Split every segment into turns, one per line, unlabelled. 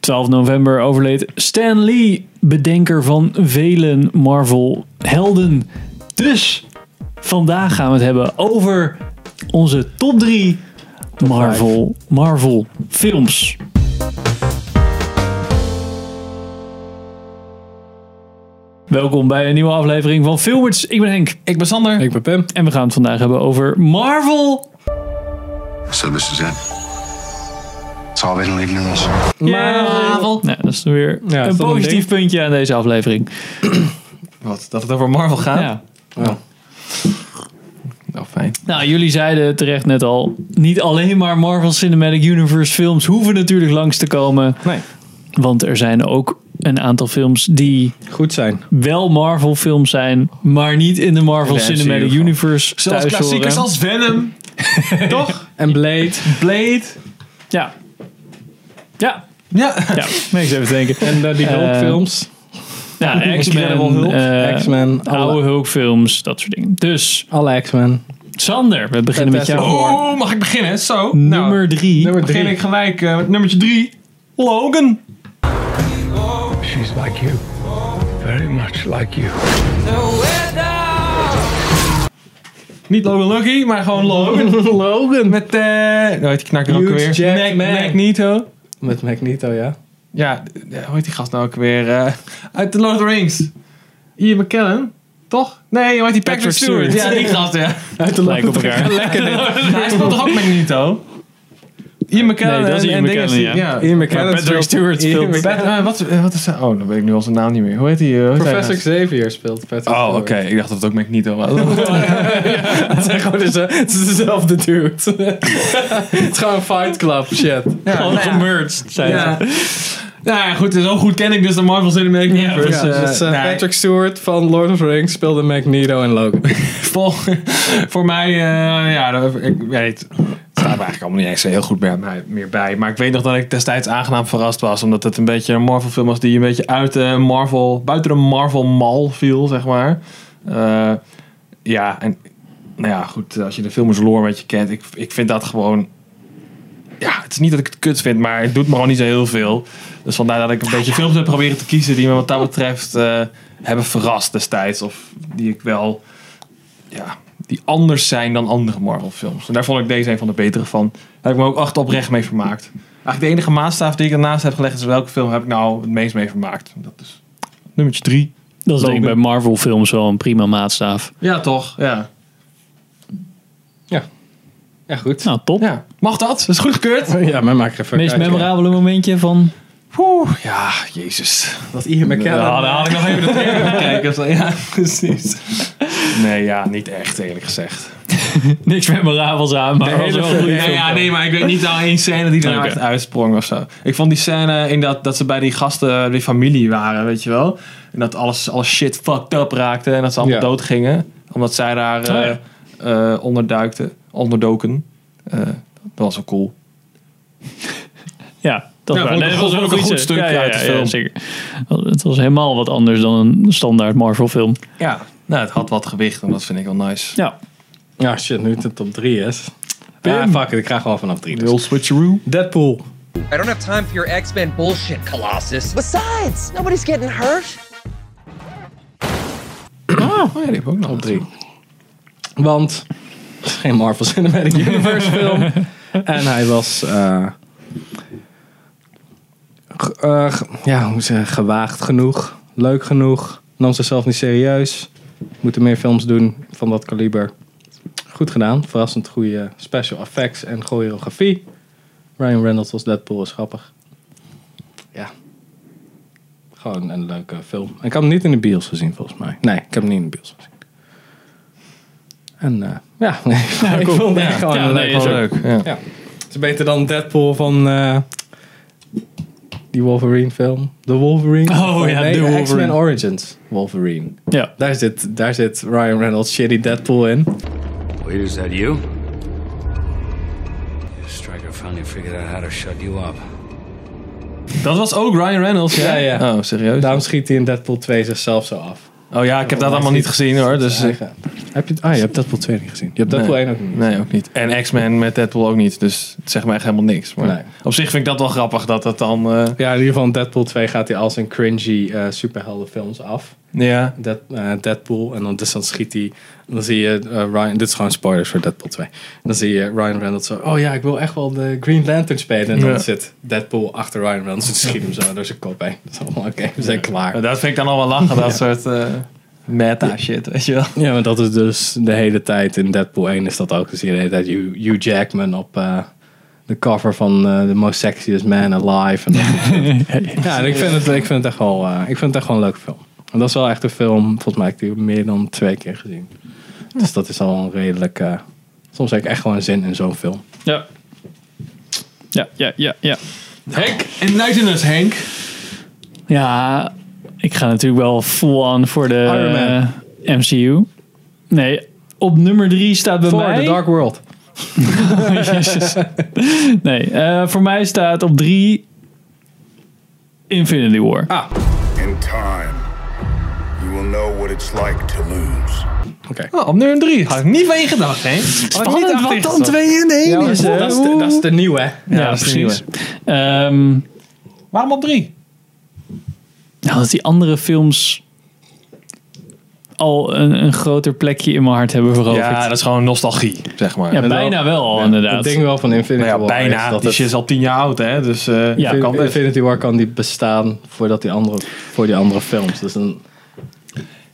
12 november overleed Stan Lee, bedenker van vele Marvel-helden. Dus vandaag gaan we het hebben over onze top 3 Marvel, Marvel films. Welkom bij een nieuwe aflevering van Filmers. Ik ben Henk
Ik ben Sander.
Ik ben Pim.
en we gaan het vandaag hebben over Marvel.
So this is it. It's all been leading us.
Marvel.
Nou, dat is weer
Ja,
een
is dat een
positief puntje aan deze aflevering.
Wat, dat het over Marvel gaat?
Ja.
Nou, fijn.
Nou, jullie zeiden terecht net al, niet alleen maar Marvel Cinematic Universe films hoeven natuurlijk langs te komen.
Nee.
Want er zijn ook een aantal films die
Goed zijn.
wel Marvel films zijn, maar niet in de Marvel
De MCU
Cinematic
gewoon.
Universe
Zelfs
thuis
klassiekers
horen.
als Venom. Toch?
En Blade.
Blade.
Ja. Ja.
Ja.
Ja, nee, ik zat even te denken.
En eh, die
Eh,
Hulk-films.
Nou,
Incredible
X-Men,
Hulk.
eh,
X-Men.
oude
Alle,
Hulk-films, dat soort dingen. Dus,
alle X-Men.
Sander, we beginnen met jou.
Fantastic.
Oh, mag ik beginnen? Zo. Nou.
nummer drie.
Nummer
begin
drie.
ik gelijk eh, met nummertje drie. Logan.
She's like you. Very much like you.
Niet Logan Lucky, maar gewoon Logan.
Logan.
met, eh... nou, heet die knakker ook
Hugh
weer?
Jackman.
Mag- Magneto.
Met Magneto, ja.
Ja, d- d- hoe heet die gast nou ook weer? eh, uit The Lord of the Rings. Ian McKellen. Toch? Nee, hoe heet die? Patrick,
Patrick
Stewart.
Stewart.
Ja, die gast, ja.
Uit de
Lijken op elkaar.
Lekker dit. Hij speelt toch ook Magneto? Ian McKellen
Nee, dat is
en-
Ian
en
McKellen,
dingen die-
ja.
Ian McKellen
Maar
Patrick Stewart
Ian
speelt.
McKellen.
Pat- eh, wat, eh, wat is hij? Oh, dan weet ik nu al zijn naam niet meer. Hoe heet hij? eh, hoe heet hij
Professor Xavier speelt Patrick
nou? Oh, oké.
Stewart.
Ik dacht dat het ook Magneto was.
Het zijn gewoon deze- het is dezelfde dude. het is gewoon Fight Club shit.
ja,
Gewoon
nou ja.
gemerged, zijn ze.
Ja. Nou ja, goed. Zo goed ken ik dus de Marvel Cinematic Universe.
Ja,
Eh,
dus, eh,
nou,
Patrick Stewart van Lord of the Rings speelde Magneto en Logan.
vol- voor mij, eh, ja, dat- ik weet het. staat me eigenlijk allemaal niet eens zo heel goed meer, mij- meer bij. Maar ik weet nog dat ik destijds aangenaam verrast was. Omdat het een beetje een Marvel film was die een beetje uit de Marvel, buiten de Marvel mal viel, zeg maar. Eh, ja, en nou ja, goed, als je de filmers lore een beetje kent. Ik, ik vind dat gewoon... Ja, het is niet dat ik het kut vind, maar het doet me gewoon niet zo heel veel. Dus vandaar dat ik een beetje films heb proberen te kiezen die me wat dat betreft eh, hebben verrast destijds. Of die ik wel ja, die anders zijn dan andere Marvel films. En daar vond ik deze een van de betere van. Daar heb ik me ook echt oprecht mee vermaakt. Eigenlijk de enige maatstaf die ik ernaast heb gelegd is welke film heb ik nou het meest mee vermaakt. Dat is nummertje drie.
Dat is
Logan.
denk ik bij Marvel films wel een prima maatstaaf.
Ja, toch? Ja.
Ja, goed.
Nou, top.
ja. Mag dat? Dat is goedgekeurd.
Ja, mij maakt geen fuck
Meest
uit, ja.
memorabele momentje van...
Oeh, Oh, ja, jezus.
Dat Ian McKellen.
Ja, daar had ik nog even de trailer moeten kijken. of zo. Ja, precies. Nee, ja, niet echt eerlijk gezegd.
Niks memorabels aan, maar was wel een goede
Nee,
film.
ja, nee, maar ik weet niet al één scène die er nou
Oké.
echt uitsprong of zo. Ik vond die scène in dat, dat ze bij die gasten, die familie waren, weet je wel. En dat alles, alles shit fucked up raakte en dat ze allemaal
Ja.
dood gingen. Omdat zij daar eh
Oh
eh, onderduikten, onderdoken. Eh, dat was wel cool.
Ja, dat
Ja,
was,
vond ik
nee,
ook-
dat was
vond
wel
ik
een
ook
goed stuk ja, ja,
uit de
ja,
film.
zeker. Het was helemaal wat anders dan een standaard Marvel film.
Ja, nou, het had wat gewicht en dat vind ik wel nice.
Ja.
Ja, shit, nu het de top 3 is.
Pim.
Ja, fuck it, ik ga gewoon vanaf 3. Dus.
Heel switcheroo.
Deadpool.
I don't have time for your X Men bullshit, Colossus.
Besides, nobody's getting hurt.
Oh ja, die heb ik ook nog.
Top 3. Want het is geen Marvel Cinematic Universe film. En hij was. eh, ge- eh, ge- ja, hoe ze gewaagd genoeg. Leuk genoeg. Nam zichzelf niet serieus. Moeten meer films doen van dat kaliber. Goed gedaan. Verrassend goede special effects en choreografie. Ryan Reynolds als Deadpool is grappig. Ja. Gewoon een leuke film. Ik had hem niet in de bios gezien, volgens mij. Nee, ik heb hem niet in de bios gezien. En eh, ja, nee, ik vond het echt gewoon
Ja,
een
nee,
leuk,
is
gewoon
ook-
Leuk, ja.
ja. Het is beter dan Deadpool van eh, die Wolverine film. De Wolverine.
Oh ja,
nee,
The Wolverine.
X-Men Origins Wolverine.
Ja.
Daar zit, daar zit Ryan Reynolds shitty Deadpool in.
Wait, is that you? Stryker finally figured out how to shut you up.
Dat was ook Ryan Reynolds, ja?
Ja, ja.
Oh, serieus?
Daarom schiet hij in Deadpool 2 zichzelf zo af.
Oh ja, ik heb dat allemaal niet gezien hoor. Dus,
Hij, hij Heb je, ah, je hebt Deadpool 2 niet gezien. Je hebt Deadpool 1 ook niet.
Nee, ook niet. En X-Men met Deadpool ook niet. Dus het zegt me echt helemaal niks. Maar
Nee.
op zich vind ik dat wel grappig dat dat dan... eh,
Ja, in ieder geval in Deadpool 2 gaat hij al zijn cringy eh superheldenfilms af.
ja.
Dead, eh, Deadpool. En dan, dus dan schiet hij. Dan zie je eh, Ryan. Dit is gewoon spoilers voor Deadpool 2. Dan zie je Ryan Reynolds zo. Oh ja, ik wil echt wel de Green Lantern spelen. En dan
Ja.
zit Deadpool achter Ryan Reynolds. En schiet hem zo door zijn kop heen. Dat is allemaal oké. we zijn klaar.
Maar Dat vind ik dan al wel lachen, dat soort eh meta shit, weet je wel.
Ja, maar dat is dus de hele tijd in Deadpool 1 is dat ook. Dus de hele tijd Hugh, Hugh Jackman op eh, de cover van eh, The Most Sexiest Man Alive. En dat soort shit. ja, en ik vind, het, ik, vind het echt wel, eh, ik vind het echt wel een leuke film. En dat is wel echt een film, volgens mij heb ik die meer dan twee keer gezien. Dus dat is al een redelijk... eh, soms heb ik echt gewoon zin in zo'n film.
Ja. Ja, ja, ja, ja.
Henk, enlighten us Henk.
Ja, ik ga natuurlijk wel full on voor de
Iron Man.
eh, MCU. Nee, op nummer drie staat bij
Voor
mij...
The Dark World.
Jezus. Nee, eh, voor mij staat op drie Infinity War.
In time, you will know what it's like to lose.
Oh,
Nou, op nummer 3. Had ik niet van je gedacht, Henk.
Spannend, wat dan twee
in één
Ja, is, eh,
Dat is, de, dat is de nieuwe, hè?
ja,
dat is de
precies. Ehm,
Waarom op 3?
nou, dat die andere films al een, een groter plekje in mijn hart hebben veroverd.
Ja, dat is gewoon nostalgie, zeg maar.
Oh, Ja,
Nou
bijna wel, al,
Het
inderdaad.
ding wel van Infinity
ja,
War is
bijna.
dat
Die
het-
shit is al 10 jaar oud, hè. Dus eh,
Ja,
kan
Infin-
best.
Infinity War kan die bestaan voordat die andere, voor die andere films. Dus een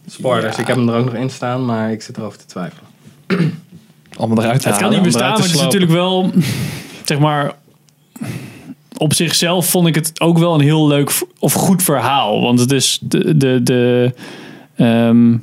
spoilers. Ik heb hem er ook nog in staan, maar ik zit erover te twijfelen.
Allemaal
Het
eruit
kan
halen.
niet
om
bestaan,
eruit
maar
te
het is
slopen.
natuurlijk wel, zeg maar, op zichzelf vond ik het ook wel een heel leuk v- of goed verhaal. Want het is de, de, de ehm,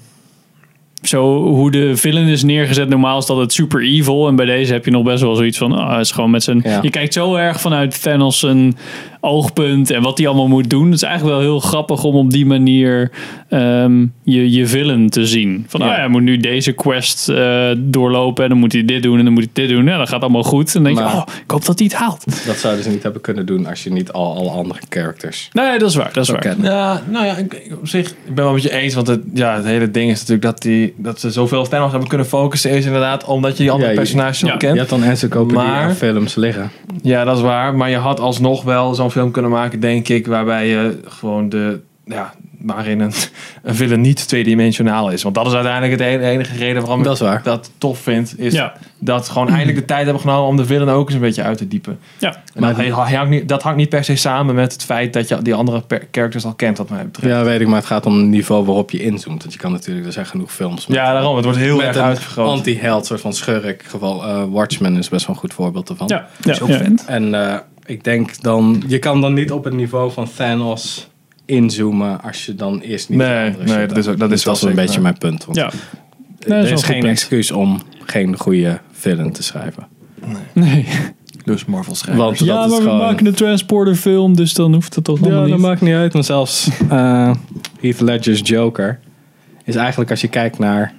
zo hoe de villain is neergezet. Normaal is dat het super evil. En bij deze heb je nog best wel zoiets van, ah, het is gewoon met zijn,
Ja.
je kijkt zo erg vanuit Thanos zijn oogpunt en wat hij allemaal moet doen. Het is eigenlijk wel heel grappig om op die manier ehm, je, je villain te zien. Van, ah, hij moet nu deze quest eh, doorlopen en dan moet hij dit doen en dan moet hij dit doen. Ja, dat gaat allemaal goed. En dan denk je,
Maar-
oh, ik hoop dat hij het haalt.
Dat zouden ze niet hebben kunnen doen als je niet al alle andere characters
Nee, dat is waar, dat is waar.
kent.
Ja, nou ja, ik, ik- op zich, ik ben wel met je eens. Want het, ja, het hele ding is natuurlijk dat, die, dat ze zoveel Thanos hebben kunnen focussen. Is inderdaad omdat je die andere
Ja, je-
personages
ja,
al kent.
Je hebt dan encyclopedie
Maar-
aan films liggen.
Ja, dat is waar. Maar je had alsnog wel zo'n film kunnen maken, denk ik, waarbij je gewoon de. Ja, waarin een, een villain niet tweedimensionaal is. Want dat is uiteindelijk de en- enige reden waarom
Dat is waar.
ik dat tof vind. Is
Ja.
dat ze gewoon eindelijk de tijd hebben genomen om de villain ook eens een beetje uit te diepen.
Ja.
En dat, he- hangt niet, dat hangt niet per se samen met het feit dat je die andere per- characters al kent, wat mij betreft.
Ja, weet ik, maar het gaat om het niveau waarop je inzoomt. Want je kan natuurlijk, er zijn genoeg films met,
Ja, daarom. Het wordt heel
met
erg
een
uitvergroot.
anti-held, soort van schurk. Geval, eh, Watchmen is best wel een goed voorbeeld ervan.
Ja, ja,
ook
ja.
vet.
En eh, ik denk dan, je kan dan niet op het niveau van Thanos inzoomen als je dan eerst niet.
Nee,
de andere
nee,
shit
dat is ook-
hebt.
dat is
dat is
wel zeker
een beetje mijn punt. Want
Ja. Nee, dat
er
wel
is
een goed
geen
punt.
excuus om geen goede villain te schrijven.
Nee.
Dus Marvel schrijft.
Want
Ja,
dat
maar
is
we
gewoon.
maken een transporterfilm, dus dan hoeft het toch
ja,
allemaal
dat
niet.
maakt niet uit. Want zelfs eh, Heath Ledger's Joker is eigenlijk als je kijkt naar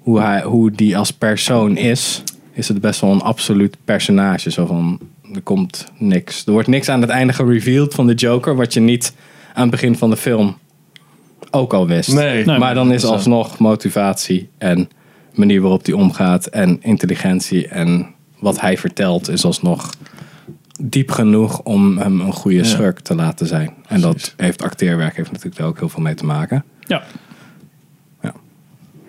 hoe, hij, hoe die als persoon is, is het best wel een absoluut personage. Zo van, er komt niks. Er wordt niks aan het einde gereveeld van de Joker, wat je niet aan het begin van de film ook al wist.
Nee. eh,
Nee.
maar dan is alsnog motivatie en manier waarop die omgaat en intelligentie en wat hij vertelt is alsnog diep genoeg om hem een goede schurk te laten zijn. En dat heeft acteerwerk heeft natuurlijk daar ook heel veel mee te maken.
Ja.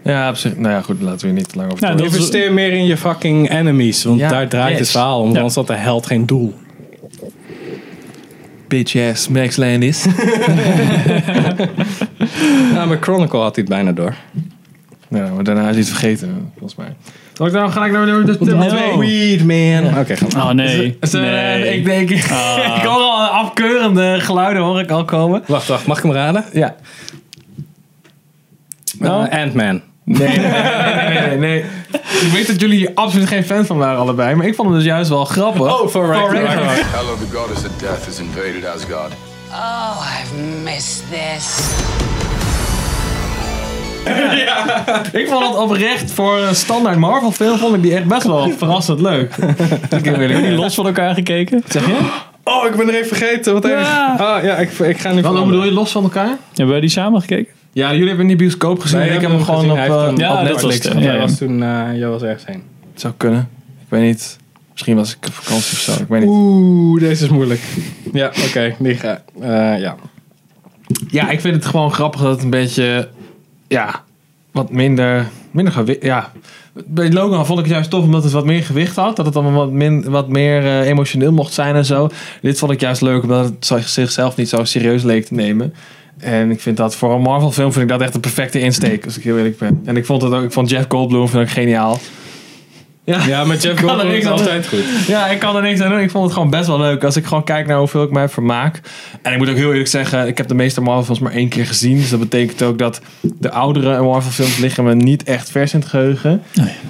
Ja, op zich. Nou ja, goed, laten we hier niet te lang over
Nou,
doen.
dat is-
Investeer meer in je fucking enemies, want
Ja,
daar draait
yes.
het verhaal om.
Ja.
Anders had de held geen doel.
bitch ass Max Landis.
Ja, maar Chronicle had hij het bijna door.
ja, maar Nou, daarna is hij het vergeten, volgens mij. Zal ik nou gelijk naar de- de de-
No.
twee?
Weed, man. Oké, gaan we.
Oh nee.
Is er,
nee.
eh, Ik denk, ik hoor al afkeurende geluiden hoor ik al komen.
Wacht, wacht. Mag ik hem raden?
Ja.
Eh, Ant-Man.
Nee, nee, nee, nee, nee. Ik weet dat jullie hier absoluut geen fan van waren allebei, maar ik vond hem dus juist wel grappig. Oh,
For Ragnarok.
Hello, the goddess of death has invaded Asgard.
Oh, I've missed this.
Ik vond het oprecht voor een standaard Marvel film, vond ik die echt best wel verrassend leuk. ik heb weer
Los van elkaar gekeken.
Zeg je?
Oh, ik ben er even vergeten. Wat
Ja.
erg. Ah, ja, ik, ik ga nu
Wat
veranderen.
bedoel je, los van elkaar?
Hebben wij die samen gekeken?
Ja, jullie hebben hem in de bioscoop gezien.
Wij
ik heb
hebben
hem
hem
gewoon
gezien,
op,
hij heeft
eh,
hem-
Ja,
op
dat
Netflix.
was het,
gezien.
ja.
Jij was toen, eh, jij was ergens heen.
Het zou kunnen. Ik weet niet. Misschien was ik op vakantie of zo. Ik weet niet.
Oeh, deze is moeilijk. Ja, oké. die ga- eh, ja.
Ja, ik vind het gewoon grappig dat het een beetje. Ja, wat minder. Minder gewicht. Ja. Bij Logan vond ik het juist tof omdat het wat meer gewicht had. Dat het dan wat, min, wat meer eh, emotioneel mocht zijn en zo. Dit vond ik juist leuk omdat het zo- zichzelf niet zo serieus leek te nemen. En ik vind dat voor een Marvel film vind ik dat echt een perfecte insteek. Als ik heel eerlijk ben. En ik vond, het ook, ik vond Jeff Goldblum vind ik geniaal. Ja.
ja, met Jeff
Kan er
Goldblum is
niks
het
aan
altijd goed.
Ja, ik kan er niks aan doen. Ik vond het gewoon best wel leuk. Als ik gewoon kijk naar hoeveel ik mij vermaak. En ik moet ook heel eerlijk zeggen, ik heb de meeste Marvel films maar één keer gezien. Dus dat betekent ook dat de oudere Marvel films liggen me niet echt vers in het geheugen.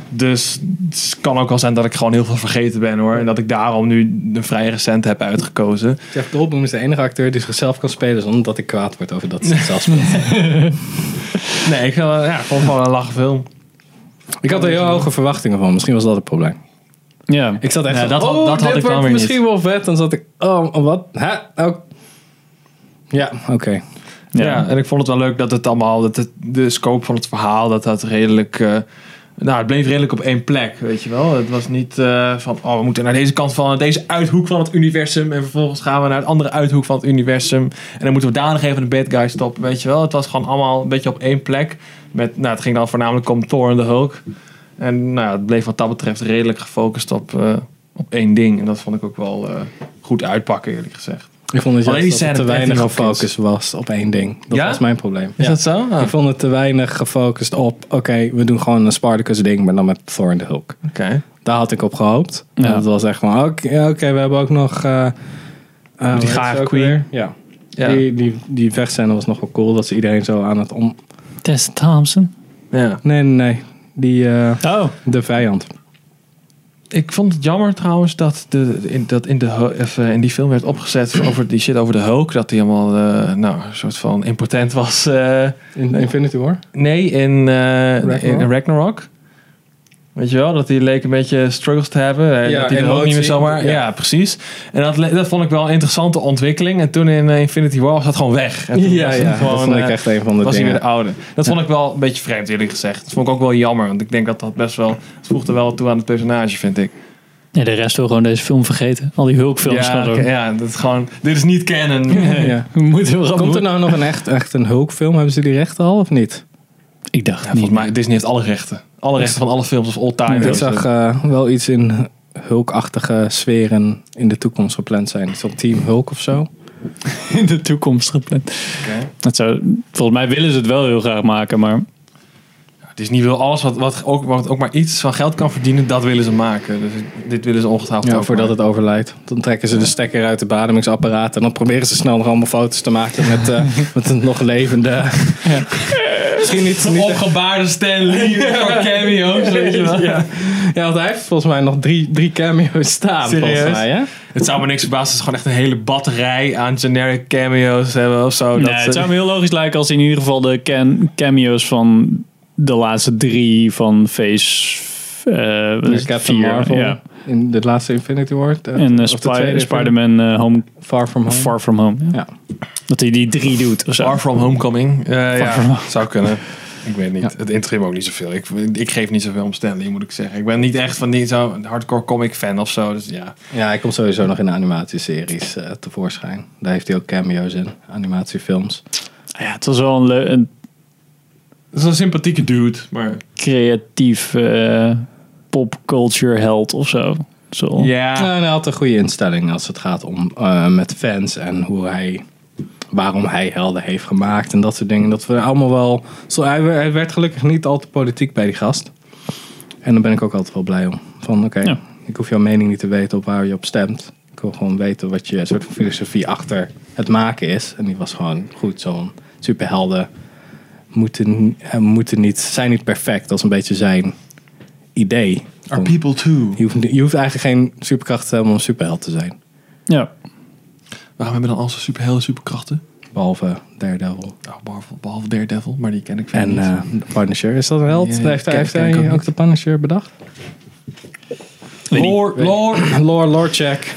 Dus het kan ook wel zijn dat ik gewoon heel veel vergeten ben hoor. En dat ik daarom nu een vrij recent heb uitgekozen.
Jeff Goldblum is de enige acteur die zichzelf kan spelen zonder dat ik kwaad word over dat ze zichzelf speelt.
Nee, ik eh, ja, vond het gewoon een lachen film.
Ik had er heel hoge verwachtingen van. Misschien was dat het probleem.
Ja.
Ik zat echt
Ja,
van,
dat had-
oh,
dat had
dit
ik dan
wordt
weer niet.
misschien wel vet. Dan zat ik, oh, wat? Hè? Oh. Ja, oké.
Ja. en ik vond het wel leuk dat het allemaal, dat het, de scope van het verhaal, dat dat redelijk, eh, nou, het bleef redelijk op één plek, weet je wel. Het was niet eh, van, oh, we moeten naar deze kant van, deze uithoek van het universum en vervolgens gaan we naar het andere uithoek van het universum en dan moeten we daar nog even de bad guy stoppen, weet je wel. Het was gewoon allemaal een beetje op één plek. Met, nou, het ging dan voornamelijk om Thor en de Hulk. En nou, ja, het bleef wat dat betreft redelijk gefocust op, eh, op één ding. En dat vond ik ook wel eh, goed uitpakken, eerlijk gezegd.
Ik vond het
Alleen die
juist dat
scène
het te
met
weinig
Anthony Hopkins.
gefocust was op één ding. Dat
Ja?
was mijn probleem.
Is
Ja.
dat zo? Ah,
Ik
Oké.
vond het te weinig gefocust op, oké, we doen gewoon een Spartacus ding, maar dan met Thor en de Hulk. Daar had ik op gehoopt.
Ja.
En Dat was echt van, oké, ja, oké, we hebben ook nog... eh, eh, hoe heet ze
gare
ook
queen.
weer? Ja. Die, die, die vechtscène was nog wel cool, dat ze iedereen zo aan het om...
Tess Thompson.
ja.
Nee, nee, nee. Die, eh,
Oh.
de vijand.
Ik vond het jammer trouwens dat, de, in, dat in, de, Hu- of, eh, in die film werd opgezet over die shit over de Hulk. Dat hij helemaal eh, nou, een soort van impotent was. eh.
In Infinity War?
nee, in, eh,
Ragnarok?
in Ragnarok. Weet je wel, dat hij leek een beetje struggles te hebben. en
Ja,
dat hij er ook niet meer
emotie,
zomaar... Ja,
ja.
precies. En dat, le- dat vond ik wel een interessante ontwikkeling. En toen in eh, Infinity War was dat gewoon weg. En toen was het
dat vond ik
eh,
echt een van de
was hij weer
dingen.
de oude. Dat vond ik wel een beetje vreemd eerlijk gezegd. Dat vond ik ook wel jammer. Want ik denk dat dat best wel... Het voegde wel toe aan het personage, vind ik.
Nee, de rest wil gewoon deze film vergeten. Al die Hulkfilms
Ja,
gaan
oké, ja, dat is gewoon. Dit is niet canon.
Ja.
We moeten wel
Komt er nou nog een echt, echt een Hulk-film? Hebben ze die rechten al of niet?
Ik dacht
Ja,
niet.
volgens mij, Disney heeft alle rechten. Alle rechten van alle films of all time.
ik
Dus,
zag
eh,
eh, wel iets in Hulk-achtige sferen in de toekomst gepland zijn. Zo'n Team Hulk of zo.
in de toekomst gepland. Dat zou, volgens mij willen ze het wel heel graag maken, maar
eh, Disney wil alles wat, wat, ook, wat ook maar iets van geld kan verdienen, dat willen ze maken. Dus dit willen ze ongetwijfeld
Ja,
ook
voordat
maken.
het overlijdt. Dan trekken ze de stekker uit de bademingsapparaat. En dan proberen ze snel nog allemaal foto's te maken met, eh, met een nog levende. Misschien niet. niet
Opgebaarde Stan Lee voor cameo's, weet je wel.
ja, want hij heeft volgens mij nog drie, drie cameo's staan.
Serieus?
Volgens mij, hè?
Het zou me niks verbazen als ze gewoon echt een hele batterij aan generic cameo's hebben of zo.
Nee,
dat eh, ze-
het zou me heel logisch lijken als in ieder geval de can- cameo's van de laatste drie van Phase eh, wat is
Dus
het?
Captain
vier,
Marvel.
ja.
In de laatste Infinity War. de-
En eh,
of de
Spy-
tweede
Spider-Man eh, Home,
Infinity- Far From Home.
Far From Home.
Ja.
Dat hij die drie doet of zo.
Far From Homecoming. Eh, ja,
From-
zou kunnen. Ik weet niet. Het interim ook niet zoveel. Ik, ik geef niet zoveel om Stanley, moet ik zeggen. Ik ben niet echt van die zo hardcore comic fan of zo. Dus ja.
Ja, hij komt sowieso nog in de animatieseries eh, tevoorschijn. Daar heeft hij ook cameo's in, animatiefilms.
Ja, het was wel een, leu- een
Het is een sympathieke dude, maar...
creatief eh popculture held of zo. zo.
Nou, en hij had een goede instelling als het gaat om eh, met fans en hoe hij, waarom hij helden heeft gemaakt en dat soort dingen. Dat we allemaal wel. Zo, hij, we- hij werd gelukkig niet al te politiek bij die gast. En daar ben ik ook altijd wel blij om. Van oké,
Ja.
ik hoef jouw mening niet te weten op waar je op stemt. Ik wil gewoon weten wat je soort van filosofie achter het maken is. En die was gewoon goed, zo'n superhelden. Moeten, eh, moeten niet, zijn niet perfect, dat is een beetje zijn idee.
Are
Om-
people too?
je hoeft, je hoeft eigenlijk geen superkracht te hebben om een superheld te zijn.
Ja.
Waarom hebben dan al zo'n superhelden superkrachten?
Behalve Daredevil.
Nou, behalve, behalve Daredevil, maar die ken ik verder
En
niet.
eh, de Punisher. Is dat een held?
Ja,
Nee, heeft
ken-
hij, heeft
ken ik
hij
ook
ook,
niet.
de Punisher bedacht?
Lore, lore.
Lore, lore check.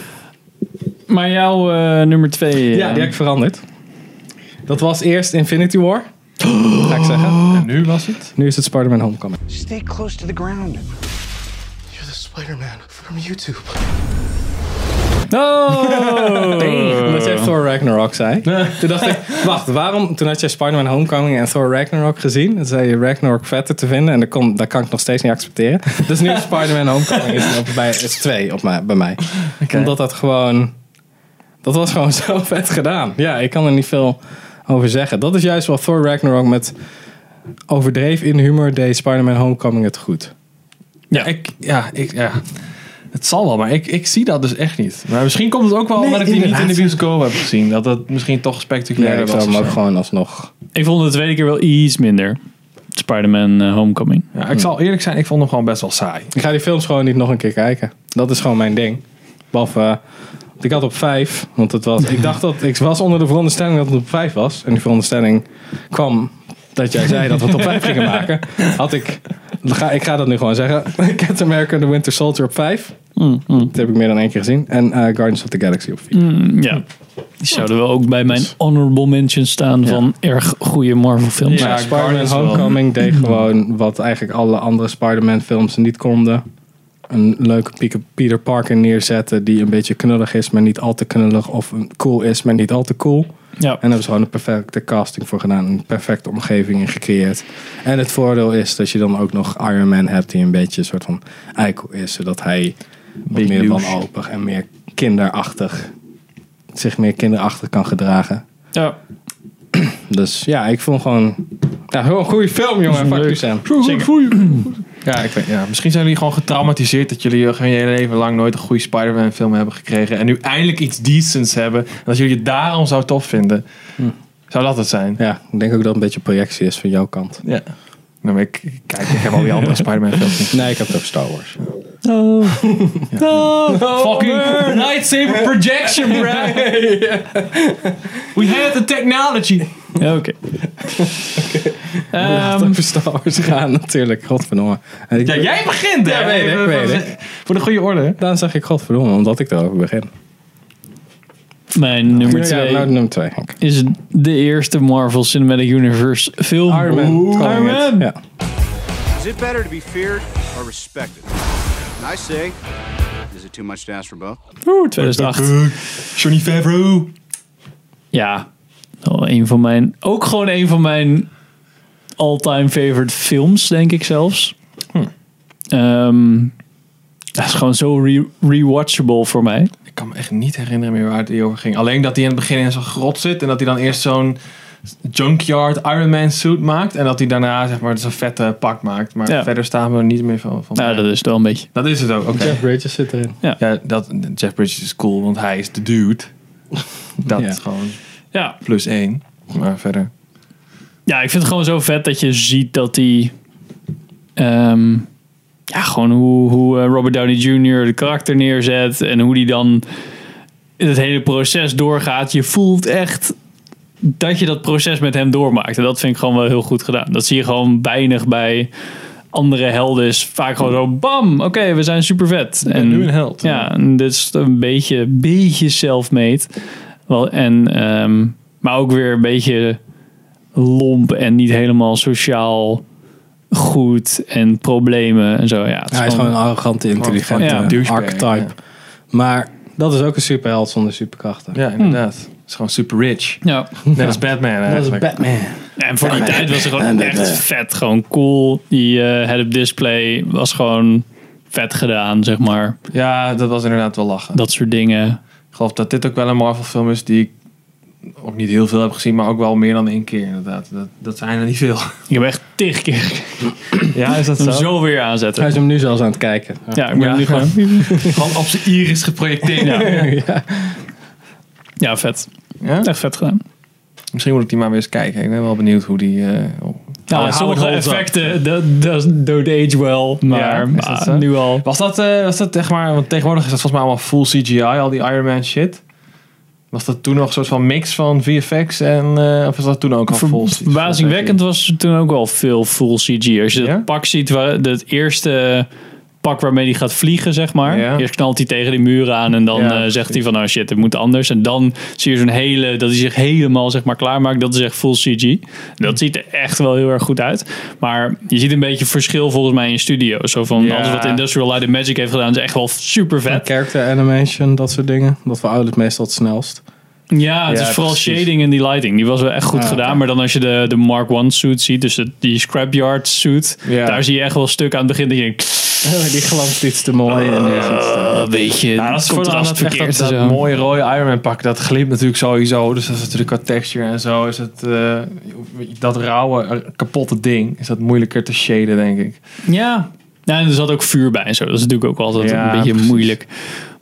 Maar jouw eh, nummer twee.
Ja,
eh,
die heb ik veranderd. Dat was eerst Infinity War. Ga ik zeggen.
En nu was het?
Nu is het Spider-Man Homecoming.
Stay close to the ground.
Oh! Omdat jij Thor Ragnarok zei. Toen dacht ik, wacht, waarom? Toen had jij Spider-Man Homecoming en Thor Ragnarok gezien. En zei je Ragnarok vetter te vinden. En dat, kon, dat kan ik nog steeds niet accepteren. Dus nu Spider-Man Homecoming is, op, bij, is twee op mij, bij mij. Omdat dat gewoon... Dat was gewoon zo vet gedaan. Ja, ik kan er niet veel over zeggen. Dat is juist wel Thor Ragnarok met overdreven in humor deed Spider-Man Homecoming het goed.
Ja, ik, ja, ik, ja. Het zal wel, maar ik, ik zie dat dus echt niet. Maar misschien komt het ook wel omdat ik die niet in de bioscoop heb gezien. Dat dat misschien toch
Ja,
spectaculair
ik
was.
zou
of
hem ook
zo.
gewoon alsnog...
Ik vond het de tweede keer wel iets minder. Spider-Man eh, Homecoming.
Ja, ik zal eerlijk zijn, ik vond hem gewoon best wel saai.
Hmm. Ik ga die films gewoon niet nog een keer kijken. Dat is gewoon mijn ding. Behalve, eh, want ik had op vijf, want het was, ik dacht dat, ik was onder de veronderstelling dat het op vijf was. En die veronderstelling kwam dat jij zei dat we het op vijf gingen maken. Had ik, ga, ik ga dat nu gewoon zeggen. Captain America The Winter Soldier op vijf. Dat heb ik meer dan één keer gezien. En eh, Guardians of the Galaxy op vier.
Mm, Ja. Die zouden wel ook bij mijn honorable mentions staan van erg goede Marvel films.
Ja,
Maar Spider-Man
Guardians wel.
Homecoming deed gewoon wat eigenlijk alle andere Spider-Man films niet konden. Een leuke Pieke- Peter Parker neerzetten die een beetje knullig is, maar niet al te knullig. Of een cool is, maar niet al te cool.
Ja.
En daar hebben ze gewoon een perfecte casting voor gedaan. Een perfecte omgeving in gecreëerd. En het voordeel is dat je dan ook nog Iron Man hebt die een beetje een soort van eikel is. Zodat hij wat
Big
meer
douche.
wanhopig en meer kinderachtig, zich meer kinderachtig kan gedragen.
Ja.
Dus ja, ik vond gewoon... Ja, gewoon een goede film, jongen. Fuck you, Sam.
Ja, ik weet, ja, misschien zijn jullie gewoon getraumatiseerd dat jullie gewoon je hele leven lang nooit een goede Spider-Man film hebben gekregen. En nu eindelijk iets decents hebben. En dat jullie het daarom zo tof vinden. Zou dat het zijn?
Ja, ik denk ook dat het een beetje projectie is van jouw kant.
Ja. Nou, maar ik, ik- kijk, ik heb al die andere Spider-Man films niet.
Nee, ik heb het over Star Wars.
Oh.
Fucking lightsaber projection, bro. We had the technology.
Ja, Oké.
Ja,
Ehm,
het over Star Wars gaan, natuurlijk. Godverdomme. En ik,
Ja, jij begint, hè?
Ja, weet ik, weet
Voor de goede orde, hè?
Daarom zeg ik godverdomme, omdat ik erover begin.
mijn nummer
Ja,
twee
nou, nummer twee, Henk.
is de eerste Marvel Cinematic Universe film.
Iron Man.
Iron
Calling
Man.
it. Ja.
Is it better to be feared or respected? And I say, is it too much to ask for both?
Oeh, 2008.
Johnny Favreau.
Ja, wel een van mijn. Ook gewoon een van mijn all-time favorite films, denk ik zelfs. Ehm, dat is gewoon zo re- rewatchable voor mij.
Ik kan me echt niet herinneren meer waar het hier over ging. Alleen dat hij in het begin in zo'n grot zit en dat hij dan eerst zo'n junkyard Iron Man suit maakt. En dat hij daarna zeg maar zo'n vette pak maakt. Maar
Ja.
verder staan we er niet meer van. van
Nou, dat is het wel een beetje.
dat is het ook, oké.
Jeff Bridges zit erin.
Ja, dat, Jeff Bridges is cool, want hij is de dude. Dat
Ja.
is gewoon
Ja.
plus één. Maar verder.
ja, ik vind het gewoon zo vet dat je ziet dat die. ehm, ja, gewoon hoe, hoe eh, Robert Downey Jr. de karakter neerzet en hoe die dan het hele proces doorgaat. Je voelt echt dat je dat proces met hem doormaakt. En dat vind ik gewoon wel heel goed gedaan. Dat zie je gewoon weinig bij andere helden. Is vaak gewoon zo bam, oké, we zijn super vet. En
nu een held.
Ja, en dit is een beetje, beetje self-made. Wel, en, ehm, maar ook weer een beetje lomp en niet helemaal sociaal goed en problemen en zo. Ja, het is
Hij is gewoon een arrogante, intelligente
Ja.
Douchebag,
archetype.
ja.
Maar dat is ook een superheld zonder superkrachten.
Ja, inderdaad. Het is gewoon super rich.
Ja.
Net als Batman eigenlijk.
Batman.
En voor die tijd was het gewoon echt vet. Gewoon cool. Die eh head-up display was gewoon vet gedaan, zeg maar.
Ja, dat was inderdaad wel lachen.
Dat soort dingen.
Ik geloof dat dit ook wel een Marvel film is die ik ook niet heel veel heb gezien, maar ook wel meer dan één keer inderdaad. Dat, dat zijn er niet veel.
Ik heb echt tig keer gekeken.
Ja, is dat
hem zo weer aanzetten.
Hij is hem nu zelfs aan het kijken.
Ja, ik ben
Ja.
nu gewoon...
Gewoon op zijn iris geprojecteerd.
Ja. ja, vet.
Ja?
Echt vet gedaan.
Misschien moet ik die maar weer eens kijken. Ik ben wel benieuwd hoe die... eh, op-
Nou,
Howard
sommige
holds up.
effecten, dat, dat dood age wel. Maar
is dat
ah,
zo?
nu al.
Was dat, eh, was dat zeg maar... Want tegenwoordig is dat volgens mij allemaal full CGI, al die Iron Man shit. Was dat toen nog een soort van mix van VFX en... eh, of was dat toen ook al full CGI?
Verbazingwekkend was er toen ook al veel full CG. Als je
Ja?
dat pak ziet, waar dat eerste pak waarmee hij gaat vliegen, zeg maar.
Ja.
Eerst knalt hij tegen die muren aan en dan
Ja,
eh, zegt
precies.
hij van, nou shit, het moet anders. En dan zie je zo'n hele, dat hij zich helemaal, zeg maar, klaarmaakt. Dat is echt full CG.
Hm.
Dat ziet er echt wel heel erg goed uit. Maar je ziet een beetje verschil volgens mij in studio's. Zo van,
Ja.
alles wat Industrial Light and Magic heeft gedaan, is echt wel super vet.
Eh, Character animation, dat soort dingen. Dat veroudert meestal het snelst.
Ja, het
Ja,
is vooral
precies.
shading en die lighting. Die was wel echt goed
Ah,
gedaan.
oké.
Maar dan als je de, de Mark 1 suit ziet, dus het- die scrapyard suit,
Ja.
daar zie je echt wel een stuk aan het begin dat je denkt,
Die glamt iets te mooi. en
"Ah, een beetje
Oh, Ja, dat is vooral
contrast
dat, echt dat,
verkeerd en
dat
zo."
mooie rode Iron Man pak. Dat glimt natuurlijk sowieso. Dus dat is natuurlijk qua texture en zo. Is het, eh, dat rauwe, eh, kapotte ding. Is dat moeilijker te shaden, denk ik.
Ja. ja, en er zat ook vuur bij en zo. Dat is natuurlijk ook altijd
Ja,
een beetje
precies.
moeilijk.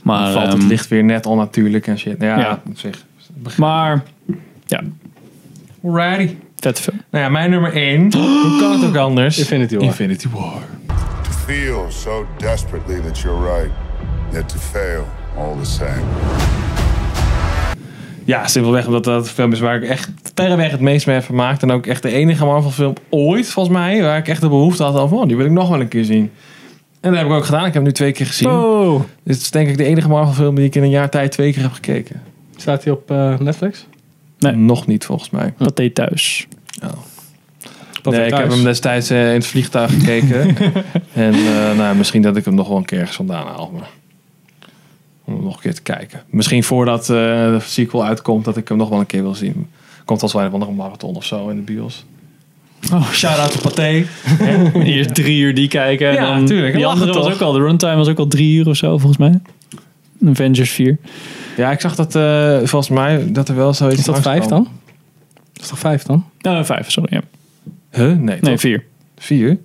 Maar,
Dan valt het
ehm,
licht weer net onnatuurlijk en shit. Ja,
Ja.
op zich.
Maar, ja,
Alrighty.
vet film.
Nou ja, mijn nummer 1. Hoe kan het ook anders?
Infinity War.
Infinity War.
To feel so desperately that you're right, yet to fail all the same.
Ja, simpelweg omdat dat een film is waar ik echt verreweg het meest mee heb vermaakt. En ook echt de enige Marvel film ooit, volgens mij, waar ik echt de behoefte had aan van, oh, die wil ik nog wel een keer zien. En dat heb ik ook gedaan. Ik heb hem nu twee keer gezien.
Oh,
Dit is denk ik de enige Marvel film die ik in een jaar tijd twee keer heb gekeken.
Staat hij op eh, Netflix?
Nee.
Nog niet, volgens mij.
paté thuis.
nee, ik heb hem destijds eh, in het vliegtuig gekeken. en eh, nou, ja, misschien dat ik hem nog wel een keer ergens vandaan haal. Maar... Om hem nog een keer te kijken. Misschien voordat eh, de sequel uitkomt, dat ik hem nog wel een keer wil zien. Komt als wel een of andere marathon of zo in de bios.
Oh,
Shout-out to Pathé.
Eerst drie uur die kijken. en
Ja,
dan,
tuurlijk.
Die
Lachen
andere was
toch?
ook al, de runtime was ook al drie uur of zo, volgens mij. Avengers 4.
Ja, ik zag dat eh, volgens mij dat er wel zoiets
Is dat vijf
langskwam.
dan? Is toch vijf dan?
Nou, vijf, sorry. Ja.
Huh? Nee,
Nee,
toch?
vier.
vier.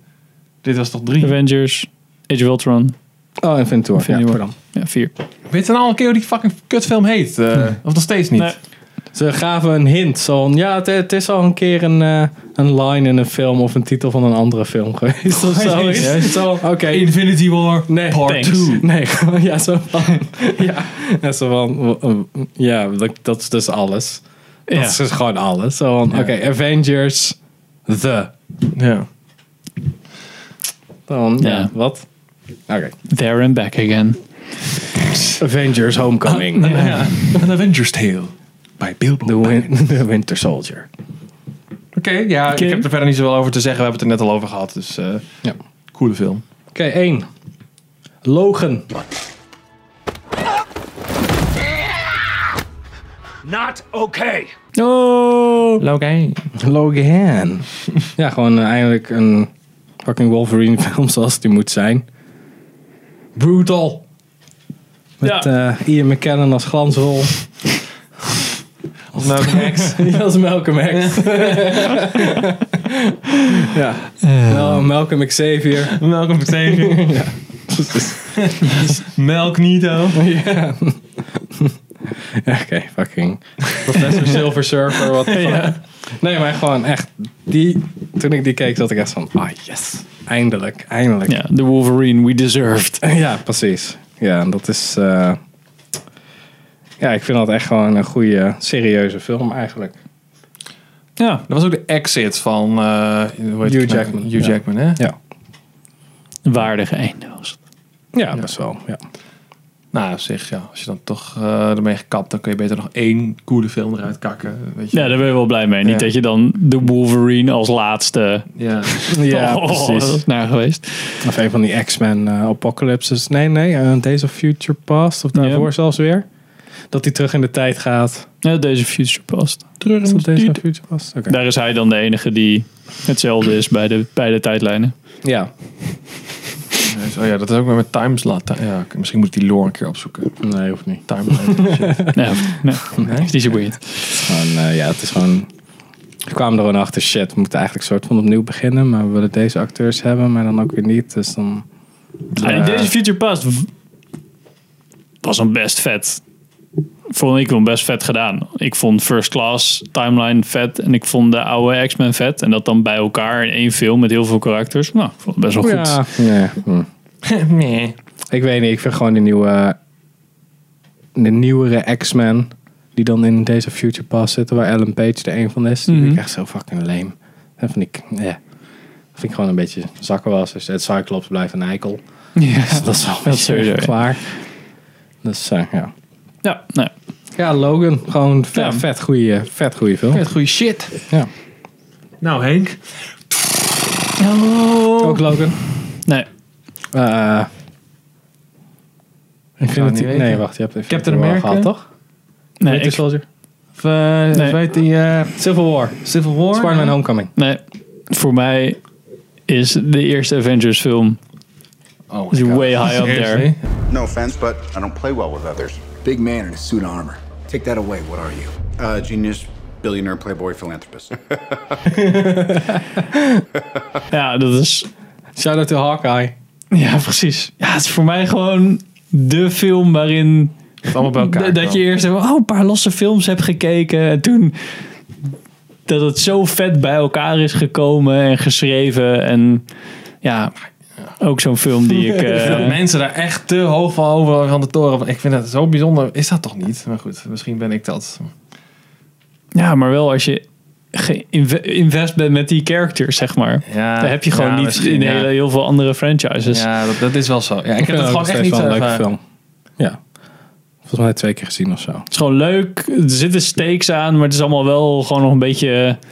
Dit was toch drie?
Avengers, Age of Ultron.
Oh, Infinity War.
Infinity
ja,
War.
pardon.
Ja, vier.
Weet je nou al een keer hoe die fucking kutfilm heet? Eh,
Hm.
Of nog steeds niet?
Nee.
Ze gaven een hint. Zo van, ja, het, het is al een keer een, eh, een line in een film of een titel van een andere film geweest. Of zo.
Jezus.
Zo, Oké.
Infinity War
Nee,
Part
thanks.
2.
Nee, gewoon, ja, zo van. Ja, ja, zo van. eh, Ja, dat, dat is dus alles. Dat
Ja.
is dus gewoon alles. Zo van, oké, Avengers, The.
Ja.
Dan, ja,
Ja.
wat? Oké.
There and back again.
Avengers Homecoming.
Ja. An Avengers Tale. Bij Bilbo.
Ah, The, win the Winter Soldier.
Oké, ja,
Oké.
ik heb er verder niet zoveel over te zeggen. We hebben het er net al over gehad. Dus eh,
Ja.
coole film.
Oké, één. Logan.
Not okay.
Oh!
Logan.
Logan. ja, gewoon eh, eindelijk een fucking Wolverine film zoals die moet zijn. Brutal. Met eh, Ian McKellen als glansrol.
Of Malcolm X.
Ja, als Malcolm X. ja. Nou, Malcolm Xavier.
Eh. Malcolm Xavier. Melknito.
ja. Oké, fucking. Professor Silver Surfer, wat Nee, maar gewoon echt. Die, toen ik die keek, zat ik echt van, ah yes. Eindelijk, eindelijk.
Ja, The Wolverine We Deserved.
Ja, precies. Ja, en dat is... eh, ja, ik vind dat echt gewoon een goede, serieuze film eigenlijk.
Ja,
Dat was ook de exit van eh, hoe heet
Hugh
het?
Jackman.
Hugh
Ja.
Jackman, hè?
Ja,
een waardige einde was het.
ja, best wel. Ja.
Nou, op zich, ja. Als je dan toch eh, ermee gekapt, dan kun je beter nog één coole film eruit kakken. Weet je.
Ja, daar ben je wel blij mee. Niet
Ja.
dat je dan The Wolverine als laatste...
ja.
Ja,
Oh, dat
precies.
is naar geweest.
Of een van die X-Men eh, apocalypses. Nee, nee, eh, Days of Future Past of daarvoor
Ja.
zelfs weer. Dat hij terug in de tijd gaat.
Ja, deze Future Past.
Terug
in de
Days
tijd.
of Future Past. Oké.
Daar is hij dan de enige die hetzelfde is bij de, bij de tijdlijnen.
Ja.
Oh ja, dat is ook weer met timeslot. Ja, oké, misschien moet ik die lore een keer opzoeken.
Nee, hoeft niet.
Timeslot. shit.
Nee, nee, die is weird.
Gewoon, eh, ja, het is gewoon... We kwamen er gewoon achter, shit, we moeten eigenlijk soort van opnieuw beginnen. Maar we willen deze acteurs hebben, maar dan ook weer niet. Dus dan...
Ah, die Deze Future Past w- was een best vet. Vond ik wel best vet gedaan. Ik vond First Class Timeline vet. En ik vond de oude X-Men vet. En dat dan bij elkaar in één film met heel veel karakters. Nou, ik vond het best wel goed.
Ja. Nee. hm.
nee.
Ik weet niet, ik vind gewoon de nieuwe... De nieuwere X-Men, die dan in Days of Future Past zitten, waar Ellen Page er een van is. Die
Mhm.
vind ik echt zo fucking lame. Dat vind ik, ja. Dat vind ik gewoon een beetje zakkenwassers. Het Cyclops blijft een eikel.
Ja, dat is wel
Dat is
sowieso. ja.
klaar. Dus eh, ja.
Ja, nou,
Ja, Logan. Gewoon vet,
Ja.
vet goede vet goeie film.
goede shit.
Ja.
Nou Henk.
Ook Logan.
nee.
Eh
het
Infinity...
niet
Nee,
weten.
wacht. Je hebt even
Captain America?
gehad, toch?
Nee,
Winter
ik-
Soldier.
Of, eh,
Nee.
weet die eh,
Civil War.
Civil War?
Spider-Man Homecoming.
nee. Voor mij is de eerste Avengers film
Oh my
is
God.
way high up there.
Seriously?
No offense, but I don't play well with others.
Big man in a suit of armor. Take that away. What are you?
Uh, genius, billionaire, playboy, philanthropist.
Ja, dat is...
Shout-out to Hawkeye.
Ja, precies. Ja, het is voor mij gewoon de film waarin...
Het allemaal bij elkaar.
D- dat je eerst even, oh, een paar losse films hebt gekeken. En toen dat het zo vet bij elkaar is gekomen en geschreven. En ja, ook zo'n film die ik...
Ik vind
eh,
dat mensen daar echt te hoog van over van de toren. Ik vind dat zo bijzonder. Is dat toch niet? Maar goed, misschien ben ik dat.
ja, maar wel als je geïnvest bent met die characters, zeg maar.
Ja,
Dan heb je gewoon
ja,
niet
misschien,
in
ja.
hele, heel veel andere franchises.
Ja, dat, dat is wel zo. Ja, ik heb
vind
dat
ook
gewoon
nog
echt
steeds
niet eh,
wel
zo
een leuke
ervaren.
film. Ja. Volgens mij twee keer gezien of zo.
Het is gewoon leuk. Er zitten stakes aan, maar het is allemaal wel gewoon nog een beetje... eh,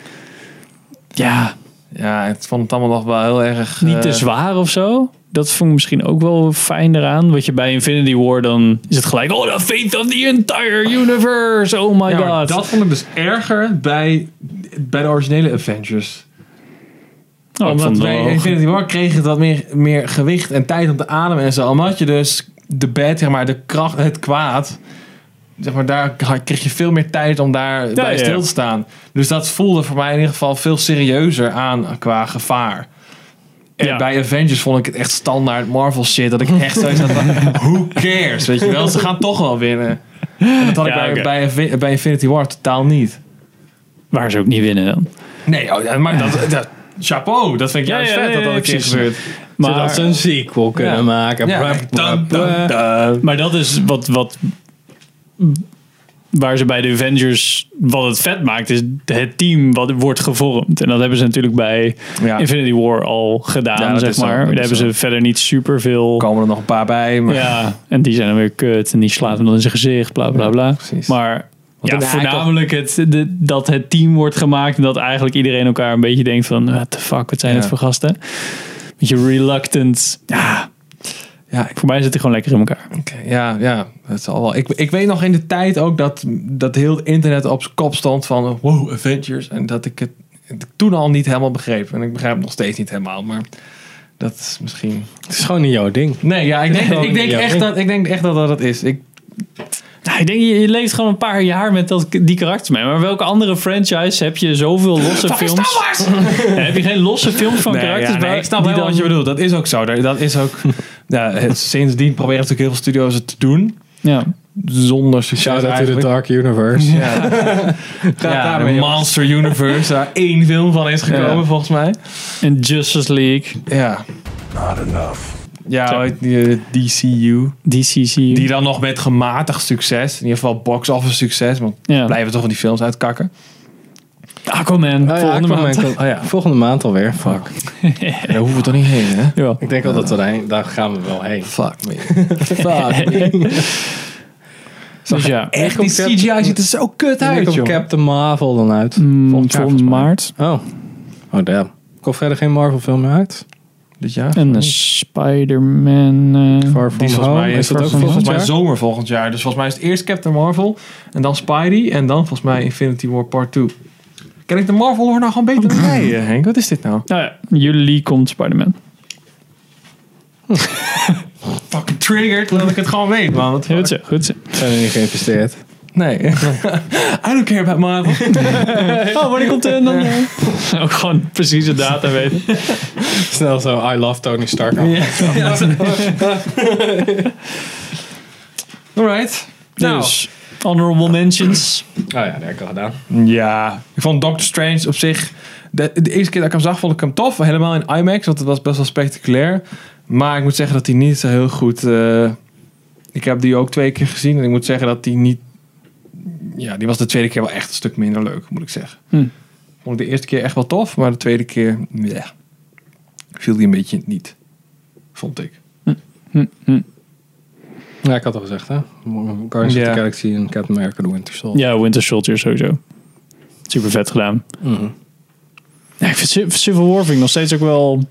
Ja,
Ja, ik vond het allemaal nog wel heel erg...
niet
eh,
te zwaar of zo. Dat vond ik misschien ook wel fijn eraan. Wat je bij Infinity War dan is het gelijk. Oh, the fate of the entire universe. Oh my
ja, maar
god.
dat vond ik dus erger bij, bij de originele Avengers.
Oh, ik vond
Omdat
het wel
bij
hoog.
Infinity War kreeg het wat meer, meer gewicht en tijd om te ademen en zo. Omdat je dus de bad, zeg maar, de kracht, het kwaad, zeg maar, daar had- kreeg je veel meer tijd om daar bij
ja.
stil te staan. Dus dat voelde voor mij in ieder geval veel serieuzer aan qua gevaar. En
Ja.
bij Avengers vond ik het echt standaard Marvel shit. Dat ik echt zoiets had van, who cares? Weet je wel, ze gaan toch wel winnen. En dat had
Ja,
ik
oké.
bij, bij, bij Infinity War totaal niet.
Waar ze ook niet winnen dan.
Nee, oh, ja, maar dat, dat, chapeau. Dat vind ik
Ja,
juist
ja,
vet
ja,
dat
ja,
dat een keer
precies.
gebeurt.
Maar,
Zodat ze een sequel kunnen
Ja.
maken.
Ja. Dun, dun, dun.
maar dat is wat, wat. Waar ze bij de Avengers. Wat het vet maakt, is het team wat wordt gevormd. En dat hebben ze natuurlijk bij
Ja.
Infinity War al
Ja,
gedaan,
dat
zeg
is zo,
maar.
dat
Daar
is
hebben
zo.
ze verder niet super veel.
komen er nog een paar bij. Maar
Ja, en die zijn dan weer kut en die slaat hem dan in zijn gezicht, bla bla bla.
precies.
maar ja,
dan haak ik
voornamelijk het, de- dat het team wordt gemaakt en dat eigenlijk iedereen elkaar een beetje denkt van, what the fuck, wat zijn
Ja.
het voor gasten? Beetje reluctant. Ja,
ja, ik-
voor mij zit het gewoon lekker in elkaar.
oké, ja, ja, dat zal wel. Ik, ik weet nog in de tijd ook dat, dat heel het internet op zijn kop stond van wow, Avengers. En dat ik het, het toen al niet helemaal begreep. En ik begrijp het nog steeds niet helemaal, maar dat is misschien...
Het is gewoon niet jouw ding.
Nee, ja, ik denk,
Gewoon
ik denk,
niet jouw
echt,
ding.
dat, ik denk echt dat dat het is. Ik,
Nou, ik denk, je, je leeft gewoon een paar jaar met dat, die karakters mee. Maar welke andere franchise heb je zoveel losse films? heb je geen losse films van
nee,
karakters?
ja, nee,
waar-
ik snap
die
wel
dan-
wat je bedoelt. Dat is ook zo. Daar- Dat is ook... ja, het- sindsdien proberen natuurlijk heel veel studio's het te doen.
Ja.
Zonder succes
Shout-out to the
eigenlijk.
Dark Universe.
Ja. ja,
daarmee,
de
jongens.
Monster Universe, waar één film van is gekomen
Ja.
volgens mij.
En Justice League,
Ja.
Not enough.
Ja, die, eh, DCU.
DCC.
Die dan nog met gematigd succes. In ieder geval box office succes. Want
Ja.
blijven toch van die films uitkakken.
Aquaman,
Oh ja,
volgende
Aquaman
maand.
komt- oh ja, volgende maand alweer. Fuck.
En daar hoeven we toch niet heen, hè?
Ja.
Ik denk al dat we daarheen, daar gaan we wel heen.
Fuck me. Fuck
Dus ja,
Echt, die
komt Cap-
CGI ziet er zo kut
Wanneer
uit,
komt
joh. Mm.
Captain Marvel dan uit?
volgend, maart.
Oh. Oh damn. Komt verder geen Marvel film meer uit?
Dit jaar?
En een Spider-Man. eh,
Far From
Die is volgens
Home.
mij,
is dat ook
volgens
volgend
mij
jaar?
zomer volgend jaar. Dus volgens mij is het eerst Captain Marvel. En dan Spidey. En dan volgens mij Infinity War Part 2. Ken ik de Marvel hoor nou gewoon beter dan jij, eh, Henk? Wat is dit nou?
nou ja, juli komt Spider-Man.
fucking triggered dat ik het gewoon weet, man. Wat
Goed zo, goed zo.
Zijn er niet geïnvesteerd?
Nee. I don't care about Marvel.
Oh, wanneer komt er dan? Ook Oh, gewoon precies de data weten.
Snel zo, I love Tony Stark.
Alright. Nou.
Dus, honorable mentions.
Oh ja, dat heb ik al gedaan.
Ja. Ik vond Doctor Strange op zich... De, de eerste keer dat ik hem zag, vond ik hem tof. Helemaal in IMAX, want het was best wel spectaculair. Maar ik moet zeggen dat hij niet zo heel goed... eh, ik heb die ook twee keer gezien. En ik moet zeggen dat die niet... Ja, die was de tweede keer wel echt een stuk minder leuk, moet ik zeggen.
Hm.
Vond ik de eerste keer echt wel tof, maar de tweede keer... Ja. Viel die een beetje niet. Vond ik.
Ja, ik had al gezegd, hè? Guardians
Ja.
of the Galaxy en Captain America The Winter Soldier.
Ja, Winter Soldier sowieso. Super vet gedaan.
Mhm.
Ja, ik vind Civ- Civil War vind ik nog steeds ook wel...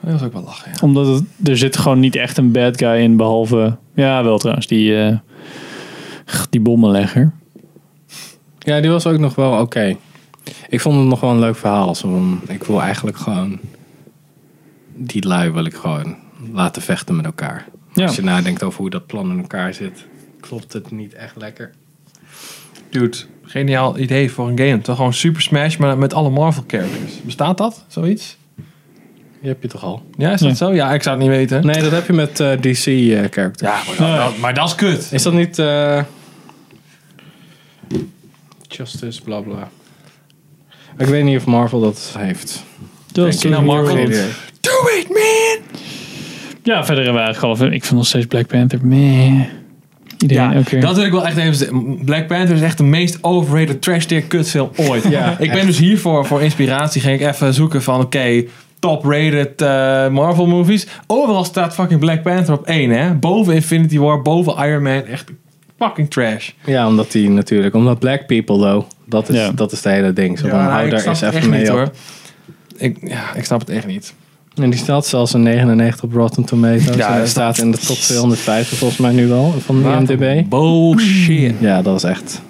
Dat was ook wel lachen, ja.
Omdat het, er zit gewoon niet echt een bad guy in, behalve... Ja, wel trouwens, die, eh, die bommenlegger.
Ja, die was ook nog wel oké. Ik vond het nog wel een leuk verhaal. Zo van, ik wil eigenlijk gewoon... Die lui wil ik gewoon laten vechten met elkaar.
Ja.
Als je nadenkt over hoe dat plan in elkaar zit, klopt het niet echt lekker.
Dude, geniaal idee voor een game. Toch gewoon Super Smash, maar met alle Marvel characters. Bestaat dat? Zoiets?
Die heb je toch al?
Ja, is dat
Ja.
zo? Ja, ik zou het niet weten.
Nee, dat heb je met eh, DC-character.
Ja, maar dat, dat- maar dat is kut.
Is dat niet... eh, Justice, bla bla. Ik weet niet of Marvel dat heeft.
Dat
Nou, Marvel.
Geen idee.
Do it, man!
Ja, verder hebben we eigenlijk al... Ik vind nog steeds Black Panther... Meh. Iedereen
Ja,
ja, keer.
dat wil ik wel echt even zeggen. Black Panther is echt de meest overrated trash tier kutfilm ooit.
Ja,
ik ben
echt.
dus hiervoor voor inspiratie ging ik even zoeken van oké, top rated eh, Marvel movies. Overal staat fucking Black Panther op één hè. Boven Infinity War, boven Iron Man. Echt fucking trash.
Ja, omdat die natuurlijk, omdat black people though, dat is,
Ja.
dat is het hele ding. Zo van,
Ja, nou,
hou
ik
daar
snap
eens
het
even
echt
mee
niet,
op.
hoor. Ik, ja, ik snap het echt niet.
En die staat zelfs een 99 op Rotten Tomatoes.
Ja,
en hij
dat-
staat in de top 250 volgens mij nu wel, van IMDb.
Bullshit.
Ja, dat is echt.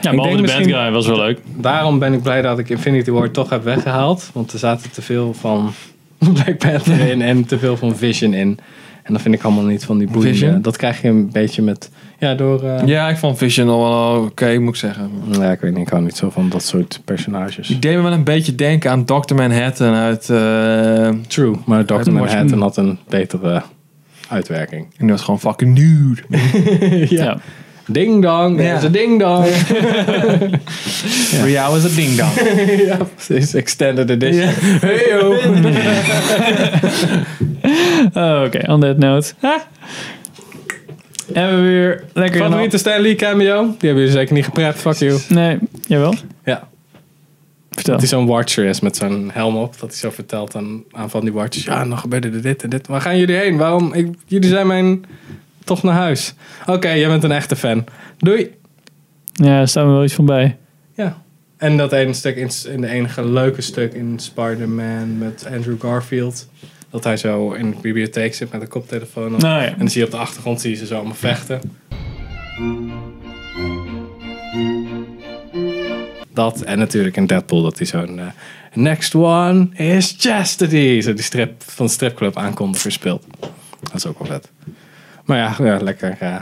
ja,
ik
behalve de
denk
bad
misschien-
guy was wel leuk.
Daarom ben ik blij dat ik Infinity War toch heb weggehaald. Want er zaten te veel van Black Panther in en te veel van Vision in. En dat vind ik allemaal niet van die boeiende.
Vision?
Dat krijg je een beetje met, ja door... eh, ja.
Ja, ik vond Vision al wel oké, moet ik zeggen.
ik weet niet, ik hou niet zo van dat soort personages.
Ik deed me wel een beetje denken aan Dr. Manhattan uit... eh
True, maar
Uit
Dr.
Washington.
Manhattan had een betere uitwerking.
en dat is gewoon fucking nude.
Ja.
Ding dong,
Ja.
there's a ding dong.
Voor jou is het ding dan.
ja, precies. Extended edition. Hey yo.
Oh, Oké, on that note. Ha. Hebben we weer lekker...
Favoriete Stan Lee cameo? Die hebben jullie zeker niet gepraat. Fuck you.
Nee, jawel.
Ja.
Vertel.
Dat hij zo'n watcher is met zo'n helm op. Dat hij zo vertelt aan, aan van die watchers. Ja, nog gebeurde er dit en dit. Waar gaan jullie heen? Waarom? Ik, jullie zijn mijn... Toch naar huis. Oké, jij bent een echte fan. Doei.
Ja, daar staan we wel iets van bij.
Ja. En dat ene stuk, in, in de enige leuke stuk in Spider-Man met Andrew Garfield. Dat hij zo in de bibliotheek zit met een koptelefoon op.
Nou ja.
En dan zie je op de achtergrond zie je ze zo allemaal vechten. Dat en natuurlijk in Deadpool dat hij zo'n... eh, Next one is Chastity. Zo die strip van de stripclub aankondiger speelt. Dat is ook wel vet. Maar ja, ja lekker. eh,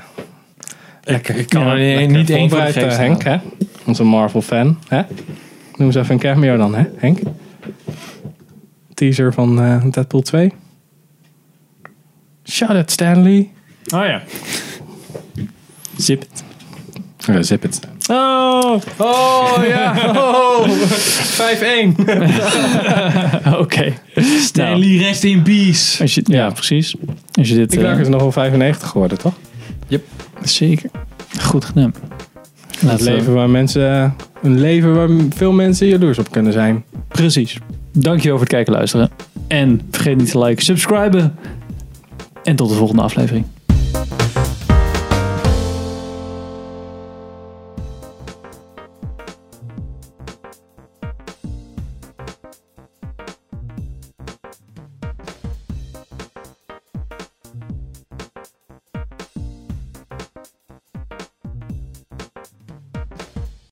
Lekker. Ik kan
Ja,
er niet-
lekker
niet één van de
voorbereid, eh,
gekste
Henk,
halen.
hè? Onze Marvel-fan. Hè? Noem eens even een cameo dan, hè, Henk? Teaser van eh, Deadpool 2. Shout out Stanley.
Oh ja. Zip.
Eh, zip it.
Oh,
Oh ja, 5-1.
oké. Nou.
Stan Lee, rest in peace.
Als je, ja, precies. Als je dit...
Die
eh,
Clark is nog wel 95 geworden, toch?
zeker. Goed gedaan. Laat
Het leven waar mensen, een leven waar veel mensen jaloers op kunnen zijn.
Precies. Dankjewel voor het kijken en luisteren. En vergeet niet te liken, subscriben. En tot de volgende aflevering.